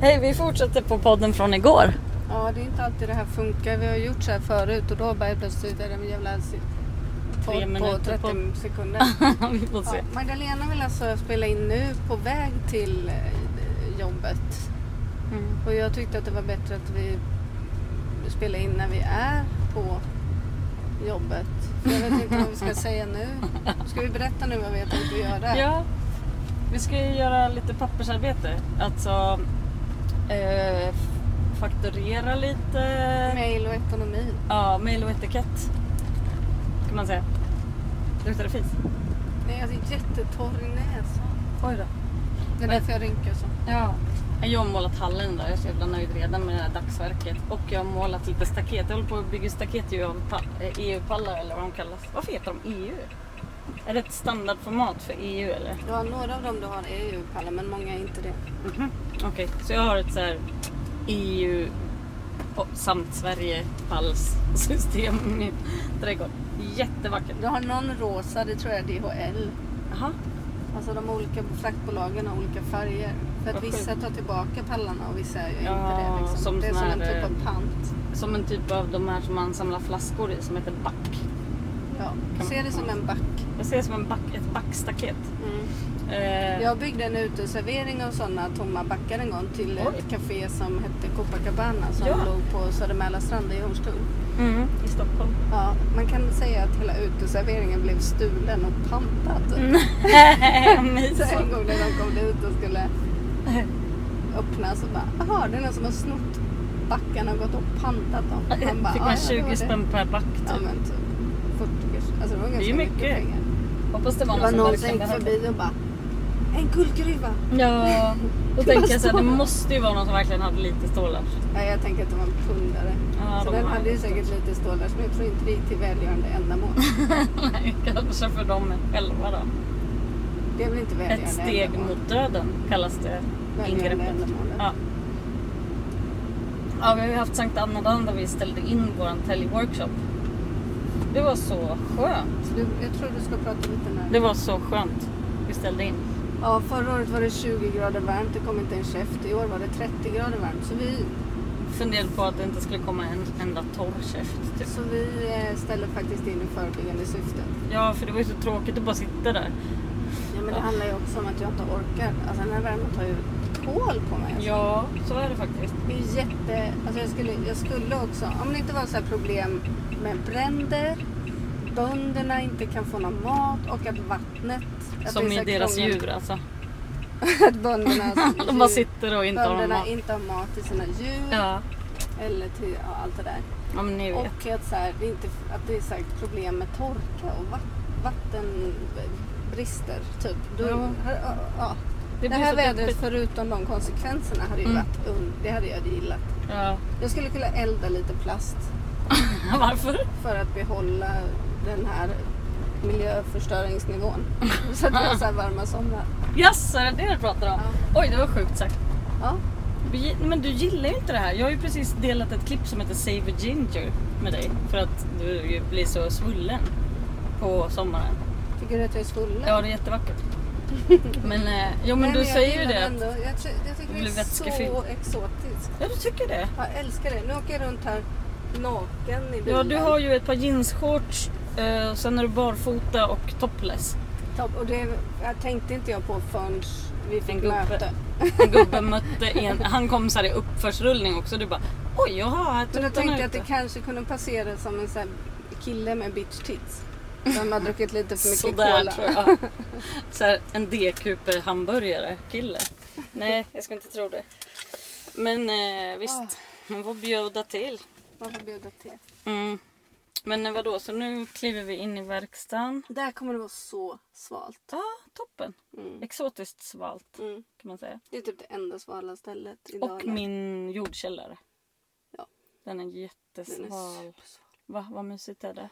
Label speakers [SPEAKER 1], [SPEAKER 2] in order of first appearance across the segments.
[SPEAKER 1] Hej, vi fortsätter på podden från igår.
[SPEAKER 2] Ja, det är inte alltid det här funkar. Vi har gjort så här förut och då bara helt plötsligt är det en jävla si-
[SPEAKER 1] Tre
[SPEAKER 2] podd på
[SPEAKER 1] minuter
[SPEAKER 2] 30
[SPEAKER 1] podd.
[SPEAKER 2] sekunder.
[SPEAKER 1] vi får se.
[SPEAKER 2] Ja, Magdalena vill alltså spela in nu på väg till eh, jobbet.
[SPEAKER 1] Mm.
[SPEAKER 2] Och jag tyckte att det var bättre att vi spelar in när vi är på jobbet. För Jag vet inte vad vi ska säga nu. Ska vi berätta nu vad vi har tänkt att göra?
[SPEAKER 1] Ja, vi ska ju göra lite pappersarbete. Alltså eh, fakturera lite.
[SPEAKER 2] Mail och ekonomi.
[SPEAKER 1] Ja, mejl och etikett. Kan man säga. Luktar det fis?
[SPEAKER 2] Nej, jag är jättetorr i näsan.
[SPEAKER 1] Oj då.
[SPEAKER 2] Det är därför jag rynkar så.
[SPEAKER 1] Ja. Jag har målat hallen där. Jag är så jävla nöjd redan med det här dagsverket. Och jag har målat lite staket. Jag håller på att bygga staket ju av pa- eh, EU-pallar eller vad de kallas. Varför heter de EU? Är det ett standardformat för EU eller?
[SPEAKER 2] Ja, några av dem du har är ju pallar, men många är inte det.
[SPEAKER 1] Mhm. Okej, så jag har ett så här EU och samt Sverige-pallssystem i min trädgård. Jättevackert.
[SPEAKER 2] Du har någon rosa, det tror jag är DHL.
[SPEAKER 1] Jaha,
[SPEAKER 2] Alltså de olika fraktbolagen har olika färger. För
[SPEAKER 1] Vad
[SPEAKER 2] att vissa
[SPEAKER 1] sjukt.
[SPEAKER 2] tar tillbaka pallarna och vissa gör
[SPEAKER 1] Ja,
[SPEAKER 2] inte det. Liksom.
[SPEAKER 1] som
[SPEAKER 2] det är
[SPEAKER 1] sån
[SPEAKER 2] som en
[SPEAKER 1] här, eh,
[SPEAKER 2] typ av pant.
[SPEAKER 1] som en typ av de här som man samlar flaskor i som heter back.
[SPEAKER 2] Ja.
[SPEAKER 1] kan
[SPEAKER 2] Se
[SPEAKER 1] man-
[SPEAKER 2] det som en back.
[SPEAKER 1] Jag ser det som en back, ett backstaket. Eh,
[SPEAKER 2] Jag byggde en uteservering av sådana tomma backar en gång till
[SPEAKER 1] Oj.
[SPEAKER 2] ett café som hette Copacabana som
[SPEAKER 1] Ja.
[SPEAKER 2] låg på Södermäla strand i Hornstull.
[SPEAKER 1] mm, I Stockholm.
[SPEAKER 2] Ja, man kan säga att hela uteserveringen blev stulen och pantad.
[SPEAKER 1] Mm.
[SPEAKER 2] Så en gång när de kom dit och skulle öppna så bara, jaha det är någon som har snott backarna och gått och pantat dem. Man bara, "Ah,
[SPEAKER 1] Fick man
[SPEAKER 2] "Ja, ja, det var
[SPEAKER 1] 20
[SPEAKER 2] det."
[SPEAKER 1] spänn per back
[SPEAKER 2] Ja
[SPEAKER 1] typ.
[SPEAKER 2] men typ 40 kanske. Alltså det var ganska
[SPEAKER 1] ju mycket.
[SPEAKER 2] pengar.
[SPEAKER 1] Hoppas det var
[SPEAKER 2] Det var
[SPEAKER 1] som
[SPEAKER 2] någon som
[SPEAKER 1] verkligen
[SPEAKER 2] gick
[SPEAKER 1] behövde.
[SPEAKER 2] förbi och bara, en guldgruva.
[SPEAKER 1] Ja, då tänker jag så här, det
[SPEAKER 2] Vad står det?
[SPEAKER 1] måste ju vara någon som verkligen hade lite stålar.
[SPEAKER 2] Nej jag tänker att det var en pundare.
[SPEAKER 1] Ja,
[SPEAKER 2] så
[SPEAKER 1] de
[SPEAKER 2] den
[SPEAKER 1] har
[SPEAKER 2] hade ju
[SPEAKER 1] det.
[SPEAKER 2] säkert lite stålar så jag tror inte det gick till välgörande ändamål.
[SPEAKER 1] Nej, kanske Alltså för dem själva då.
[SPEAKER 2] Det är väl inte välgörande
[SPEAKER 1] Ett steg
[SPEAKER 2] ändamål.
[SPEAKER 1] mot döden kallas det
[SPEAKER 2] Välgörande
[SPEAKER 1] ingreppet.
[SPEAKER 2] ändamål,
[SPEAKER 1] Ja. ja, vi har ju haft Sankt Annadagen där vi ställde in våran täljworkshop. Det var så skönt.
[SPEAKER 2] Så du, jag tror du ska prata lite närmare.
[SPEAKER 1] Det var så skönt. Vi ställde in.
[SPEAKER 2] Ja, förra året var det 20 grader varmt, det kom inte en käft. I år var det 30 grader varmt. Så vi,
[SPEAKER 1] Funderade på att det inte skulle komma en enda torr käft. Typ.
[SPEAKER 2] så vi eh, ställer faktiskt in i förebyggande syfte.
[SPEAKER 1] Ja, för det var ju så tråkigt att bara sitta där.
[SPEAKER 2] Ja, men det handlar ju också om att jag inte orkar. Alltså den här värmen tar ju kål på mig. Alltså.
[SPEAKER 1] Ja, så är det faktiskt.
[SPEAKER 2] Det är jätte... Alltså jag skulle, jag skulle också... Om det inte var så här problem med bränder, bönderna inte kan få någon mat och att vattnet... Att det
[SPEAKER 1] Som
[SPEAKER 2] är så
[SPEAKER 1] i
[SPEAKER 2] här
[SPEAKER 1] deras
[SPEAKER 2] krångel-
[SPEAKER 1] djur alltså.
[SPEAKER 2] Att bönderna...
[SPEAKER 1] De bara sitter och inte har någon
[SPEAKER 2] bönderna
[SPEAKER 1] mat.
[SPEAKER 2] inte har mat till sina djur
[SPEAKER 1] Ja,
[SPEAKER 2] eller till ja, allt det där.
[SPEAKER 1] ja men ni vet.
[SPEAKER 2] Och att, så här, det är inte, att det är så här, problem med torka och vat- vattenbrister. Typ. Då,
[SPEAKER 1] Ja.
[SPEAKER 2] ja. Ja. Det,
[SPEAKER 1] blir
[SPEAKER 2] här
[SPEAKER 1] så
[SPEAKER 2] vädret
[SPEAKER 1] deppigt.
[SPEAKER 2] förutom de konsekvenserna hade ju
[SPEAKER 1] Mm.
[SPEAKER 2] varit und- Det hade jag gillat.
[SPEAKER 1] Ja.
[SPEAKER 2] Jag skulle kunna elda lite plast
[SPEAKER 1] Varför?
[SPEAKER 2] för att behålla den här miljöförstöringsnivån. Så att vi har så här varma somrar.
[SPEAKER 1] Jaså, är det det du pratar om? Oj, det var sjukt sagt.
[SPEAKER 2] Ja.
[SPEAKER 1] Vi- Men du gillar ju inte det här. Jag har ju precis delat ett klipp som heter Save a Ginger med dig. För att du ju blir så svullen på sommaren.
[SPEAKER 2] Tycker du att jag är svullen?
[SPEAKER 1] Ja, det är jättevackert. Men, eh, jo, men
[SPEAKER 2] Nej,
[SPEAKER 1] du
[SPEAKER 2] jag
[SPEAKER 1] säger ju
[SPEAKER 2] gillar
[SPEAKER 1] det.
[SPEAKER 2] Ändå.
[SPEAKER 1] Att,
[SPEAKER 2] Jag, ty- jag tycker
[SPEAKER 1] blir
[SPEAKER 2] det är
[SPEAKER 1] vätskefylld.
[SPEAKER 2] så exotiskt.
[SPEAKER 1] ja, du tycker det.
[SPEAKER 2] Jag älskar det. Nu åker jag runt här naken i bilen.
[SPEAKER 1] Ja, du har ju ett par jeansshorts, eh, sen är du barfota och topless.
[SPEAKER 2] Topp, och det jag tänkte inte jag på förrän vi
[SPEAKER 1] En
[SPEAKER 2] fick
[SPEAKER 1] gubbe.
[SPEAKER 2] möte.
[SPEAKER 1] En gubbe mötte en, han kom så här i uppförsrullning också. Du bara oj, jaha, här
[SPEAKER 2] Men då
[SPEAKER 1] tuttarna
[SPEAKER 2] tänkte jag att det
[SPEAKER 1] ute.
[SPEAKER 2] kanske kunde passera som en sån här kille med bitch tits. Som har druckit lite för mycket cola.
[SPEAKER 1] tror jag. Så här, en D-kuper hamburgare kille. Nej, jag skulle inte tro det. Men eh,
[SPEAKER 2] Ah.
[SPEAKER 1] visst, man får bjuda till.
[SPEAKER 2] Man får bjuda till.
[SPEAKER 1] Mm. Men eh, vadå, så nu kliver vi in i verkstaden.
[SPEAKER 2] Där kommer det vara så svalt.
[SPEAKER 1] Ah, toppen!
[SPEAKER 2] Mm.
[SPEAKER 1] Exotiskt svalt
[SPEAKER 2] Mm.
[SPEAKER 1] kan man säga.
[SPEAKER 2] Det är typ det enda svala stället i
[SPEAKER 1] Och
[SPEAKER 2] Dalarna.
[SPEAKER 1] min jordkällare.
[SPEAKER 2] Ja.
[SPEAKER 1] Den är
[SPEAKER 2] Den är
[SPEAKER 1] jättesval.
[SPEAKER 2] supersval.
[SPEAKER 1] Va, vad mysigt är det?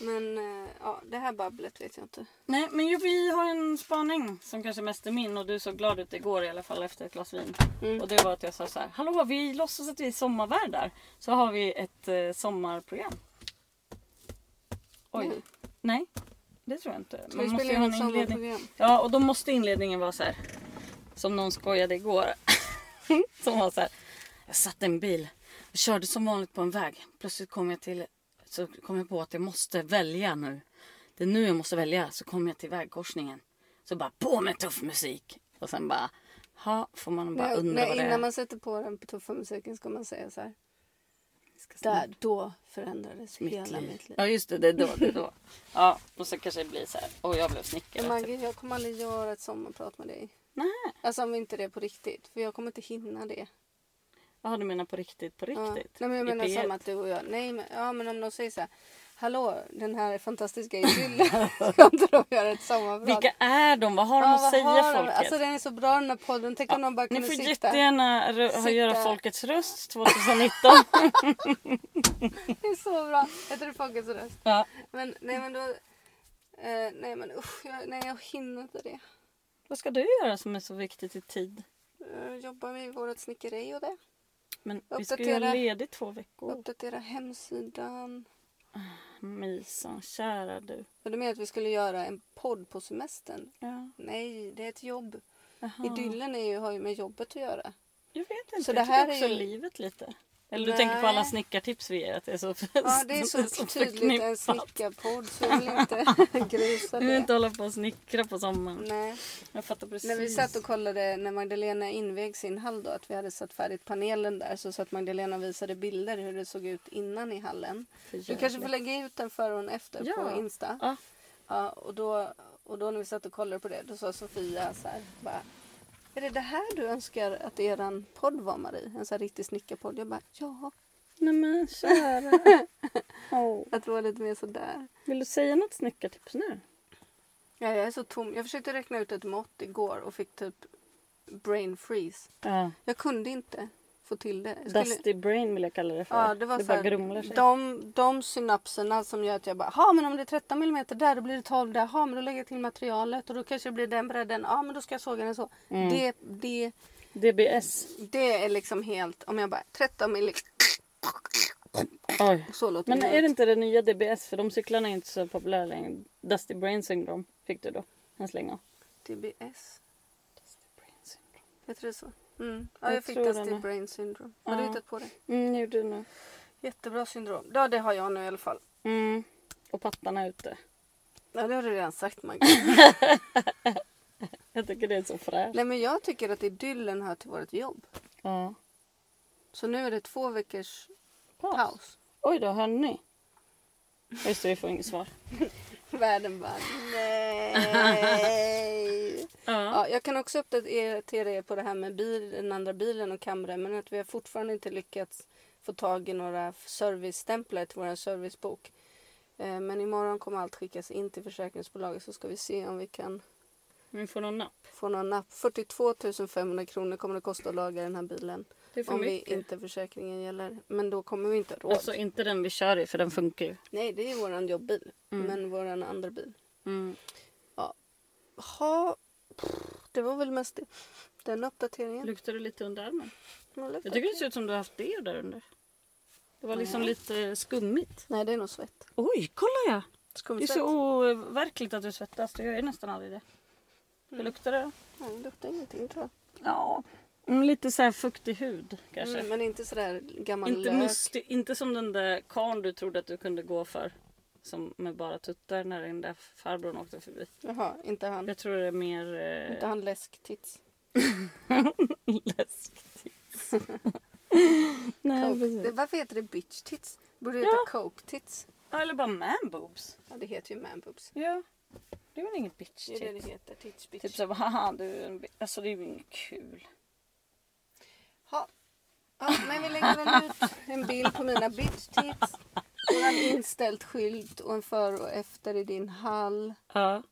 [SPEAKER 2] Men eh, ja, det här babblet vet jag inte.
[SPEAKER 1] Nej, men ju, vi har en spaning som kanske mest är min och du såg glad ut igår i alla fall efter ett glas vin.
[SPEAKER 2] Mm.
[SPEAKER 1] Och det var att jag sa så här, hallå vi låtsas att vi är sommarvärdar. Så har vi ett eh, sommarprogram. Oj,
[SPEAKER 2] Mm.
[SPEAKER 1] nej det tror jag inte.
[SPEAKER 2] Ska vi spela in ett
[SPEAKER 1] inledning.
[SPEAKER 2] sommarprogram?
[SPEAKER 1] Ja och då måste inledningen vara så här. Som någon skojade igår. som var så här. Jag satt i en bil och körde som vanligt på en väg. Plötsligt kom jag till så kom jag på att jag måste välja nu. Det är nu jag måste välja. Så kom jag till vägkorsningen. Så bara på med tuff musik. Och sen bara, ha, får man bara
[SPEAKER 2] Nej,
[SPEAKER 1] undra
[SPEAKER 2] nej,
[SPEAKER 1] vad det
[SPEAKER 2] innan
[SPEAKER 1] är.
[SPEAKER 2] man sätter på den på tuffa musiken ska man säga så här.
[SPEAKER 1] Ska snabbt.
[SPEAKER 2] Där, då förändrades
[SPEAKER 1] Mitt
[SPEAKER 2] hela
[SPEAKER 1] liv.
[SPEAKER 2] mitt liv.
[SPEAKER 1] Ja just det, det är då. Det är då. ja, och så kanske det blir så här, och jag blev snickare. typ.
[SPEAKER 2] Maggie, jag kommer aldrig göra ett sommarprat med dig.
[SPEAKER 1] Nej.
[SPEAKER 2] Alltså om inte det är på riktigt. För jag kommer inte hinna det.
[SPEAKER 1] Ja, du menar på riktigt, på
[SPEAKER 2] Ja.
[SPEAKER 1] riktigt?
[SPEAKER 2] Nej, men jag
[SPEAKER 1] I
[SPEAKER 2] menar
[SPEAKER 1] P1.
[SPEAKER 2] som att du och jag. Nej, men, ja, men om de säger så här. Hallå, den här fantastiska idyllen. Ska inte de göra ett sommarprat?
[SPEAKER 1] Vilka är de? Vad har de
[SPEAKER 2] Ja,
[SPEAKER 1] att
[SPEAKER 2] vad
[SPEAKER 1] säga
[SPEAKER 2] har de?
[SPEAKER 1] folket?
[SPEAKER 2] Alltså den är så bra den här podden. Tänk om de bara
[SPEAKER 1] Ni
[SPEAKER 2] kunde
[SPEAKER 1] får
[SPEAKER 2] sitta.
[SPEAKER 1] jättegärna rö-
[SPEAKER 2] Sitta.
[SPEAKER 1] göra folkets röst 2019.
[SPEAKER 2] Det är så bra. Jag tror folkets röst.
[SPEAKER 1] ja.
[SPEAKER 2] Men nej men då. Eh, nej men usch, jag, nej jag hinner inte det.
[SPEAKER 1] Vad ska du göra som är så viktigt i tid?
[SPEAKER 2] Eh, jobbar med vårt snickeri och det.
[SPEAKER 1] Men vi ska ju
[SPEAKER 2] Uppdatera.
[SPEAKER 1] ha ledigt två veckor.
[SPEAKER 2] Uppdatera hemsidan.
[SPEAKER 1] Misan, kära du.
[SPEAKER 2] Och du menar att vi skulle göra en podd på semestern?
[SPEAKER 1] Ja.
[SPEAKER 2] Nej, det är ett jobb.
[SPEAKER 1] Jaha.
[SPEAKER 2] Idyllen är ju, har ju med jobbet att göra.
[SPEAKER 1] Jag vet inte,
[SPEAKER 2] Så
[SPEAKER 1] så
[SPEAKER 2] det
[SPEAKER 1] det
[SPEAKER 2] här
[SPEAKER 1] jag tycker
[SPEAKER 2] är
[SPEAKER 1] också
[SPEAKER 2] ju-
[SPEAKER 1] livet lite. Eller du
[SPEAKER 2] Nej.
[SPEAKER 1] tänker på alla snickartips vi ger att det är så
[SPEAKER 2] Ja, det är så tydligt en
[SPEAKER 1] förknippat.
[SPEAKER 2] snickarpodd så jag vill inte grusa
[SPEAKER 1] Vi vill
[SPEAKER 2] det.
[SPEAKER 1] inte hålla på och snickra på sommaren.
[SPEAKER 2] Nej.
[SPEAKER 1] Jag fattar precis.
[SPEAKER 2] När vi satt och kollade när Magdalena invig sin hall då, att vi hade satt färdigt panelen där så satt Magdalena och visade bilder hur det såg ut innan i hallen.
[SPEAKER 1] För
[SPEAKER 2] Du kanske får lägga ut den före och efter på
[SPEAKER 1] Ja.
[SPEAKER 2] Insta.
[SPEAKER 1] Ja.
[SPEAKER 2] Ja, och, då, och då när vi satt och kollade på det då sa Sofia så här bara, Är det det här du önskar att eran podd var Marie? En så här riktig snickarpodd. Jag bara ja.
[SPEAKER 1] Nej men kära. Åh.
[SPEAKER 2] Jag tror det var lite mer sådär.
[SPEAKER 1] Vill du säga något snickartips nu?
[SPEAKER 2] Ja, jag är så tom. Jag försökte räkna ut ett mått igår och fick typ brain freeze.
[SPEAKER 1] Ja.
[SPEAKER 2] Jag kunde inte få till det. Jag
[SPEAKER 1] Dusty brain vill jag kalla det för.
[SPEAKER 2] Ja, det var så
[SPEAKER 1] bara
[SPEAKER 2] här,
[SPEAKER 1] grumlar sig.
[SPEAKER 2] de, de synapserna som gör att jag bara, ja men om det är 13 mm där då blir det 12 där, ja men då lägger jag till materialet och då kanske det blir den bredden, ja men då ska jag såga den så.
[SPEAKER 1] Mm.
[SPEAKER 2] Det, det,
[SPEAKER 1] DBS.
[SPEAKER 2] det är liksom helt, om jag bara 13 mm,
[SPEAKER 1] Oj.
[SPEAKER 2] så låter
[SPEAKER 1] Men
[SPEAKER 2] det.
[SPEAKER 1] är det inte det nya DBS? För de cyklarna är inte så populära längre. Dusty brain syndrome fick du då en släng av.
[SPEAKER 2] DBS,
[SPEAKER 1] Dusty brain syndrome.
[SPEAKER 2] heter det så? Mm. Ja, jag,
[SPEAKER 1] Jag
[SPEAKER 2] fick
[SPEAKER 1] tror
[SPEAKER 2] Dusty
[SPEAKER 1] den är-
[SPEAKER 2] Brain Syndrome. Har du
[SPEAKER 1] Ja.
[SPEAKER 2] hittat på det?
[SPEAKER 1] Mm, jag gjorde det nu.
[SPEAKER 2] Jättebra syndrom. Ja, det har jag nu i alla fall.
[SPEAKER 1] Mm. Och pattarna ute.
[SPEAKER 2] Ja, det har du redan sagt Maggie.
[SPEAKER 1] Jag tycker det är så fräscht.
[SPEAKER 2] Nej, men jag tycker att idyllen hör till vårt jobb.
[SPEAKER 1] Ja.
[SPEAKER 2] Så nu är det två veckors
[SPEAKER 1] Paus.
[SPEAKER 2] paus.
[SPEAKER 1] Oj då, hörde ni? Just det, vi får inget svar.
[SPEAKER 2] Världen bara nej.
[SPEAKER 1] Ja.
[SPEAKER 2] ja, jag kan också uppdatera er på det här med bil, den andra bilen och kameran men att vi har fortfarande inte lyckats få tag i några servicestämplar till vår servicebok. Eh, Men imorgon kommer allt skickas in till försäkringsbolaget så ska vi se om vi kan
[SPEAKER 1] Vi får någon napp.
[SPEAKER 2] få någon napp. 42 500 kronor kommer det kosta att laga den här bilen.
[SPEAKER 1] Det är för
[SPEAKER 2] Om vi
[SPEAKER 1] mycket.
[SPEAKER 2] inte försäkringen gäller. Men då kommer vi inte ha råd.
[SPEAKER 1] Alltså inte den vi kör i för den funkar ju.
[SPEAKER 2] Nej, det är våran jobbbil.
[SPEAKER 1] Mm.
[SPEAKER 2] Men våran andra bil.
[SPEAKER 1] Mm.
[SPEAKER 2] Ha, det var väl mest det. den uppdateringen.
[SPEAKER 1] Luktar det lite under armen?
[SPEAKER 2] Men
[SPEAKER 1] Jag tycker det ser ut som du har haft deo där under. Det var liksom lite skummigt.
[SPEAKER 2] Nej, det är nog svett.
[SPEAKER 1] Oj, kolla jag! Det är
[SPEAKER 2] Skumsvett.
[SPEAKER 1] så overkligt att du svettas. Du gör ju nästan aldrig det. Hur luktar det?
[SPEAKER 2] Nej, det luktar ingenting tror jag.
[SPEAKER 1] Ja, mm, lite så här fuktig hud kanske.
[SPEAKER 2] Mm, men inte sådär gammal
[SPEAKER 1] inte,
[SPEAKER 2] lök.
[SPEAKER 1] mustig, inte som den där karn du trodde att du kunde gå för. Som med bara tuttar när den där farbrorn åkte förbi.
[SPEAKER 2] Jaha, inte han.
[SPEAKER 1] Jag tror det är mer
[SPEAKER 2] Inte
[SPEAKER 1] eh,
[SPEAKER 2] han läsktitt.
[SPEAKER 1] läskigt. Nej, precis.
[SPEAKER 2] Det, varför heter det bitch tits? Borde det heta coke tits?
[SPEAKER 1] Ja, Eller bara man boobs.
[SPEAKER 2] Ja, det heter ju man boobs.
[SPEAKER 1] Ja. Det är väl inget bitch
[SPEAKER 2] Det är det
[SPEAKER 1] tits?
[SPEAKER 2] det heter. Tits bitch.
[SPEAKER 1] Typ såhär, haha du är en bi-" Alltså det är ju inget kul.
[SPEAKER 2] Ha. Ja, men vi lägger väl ut en bild på mina bitch tits. Och en inställd skylt och en före och efter i din hall.
[SPEAKER 1] Ja.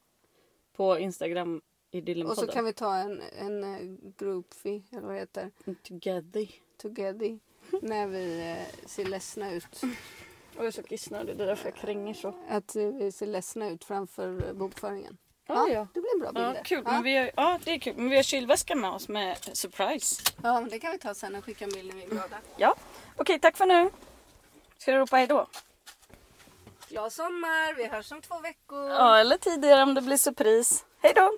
[SPEAKER 1] På Instagram i
[SPEAKER 2] Och så
[SPEAKER 1] Dylanpodden.
[SPEAKER 2] kan vi ta en, en eh, groupie, eller vad det heter.
[SPEAKER 1] Together.
[SPEAKER 2] together när vi eh, ser ledsna ut.
[SPEAKER 1] Och jag är så kissnödig, det är därför jag kränger så.
[SPEAKER 2] Att eh, vi ser ledsna ut framför eh, bokföringen.
[SPEAKER 1] Ja, ja.
[SPEAKER 2] Det blir bra
[SPEAKER 1] Ja,
[SPEAKER 2] bilder.
[SPEAKER 1] kul.
[SPEAKER 2] Ja.
[SPEAKER 1] Men vi har, ja, det är kul. Men vi har kylväska med oss med surprise.
[SPEAKER 2] ja, men det kan vi ta sen och skicka en bild när vi är glada.
[SPEAKER 1] Ja. Okej, tack för nu. Ska du ropa hejdå?
[SPEAKER 2] Glad sommar, vi hörs om två veckor.
[SPEAKER 1] Ja, eller tidigare om det blir surprise. Hejdå!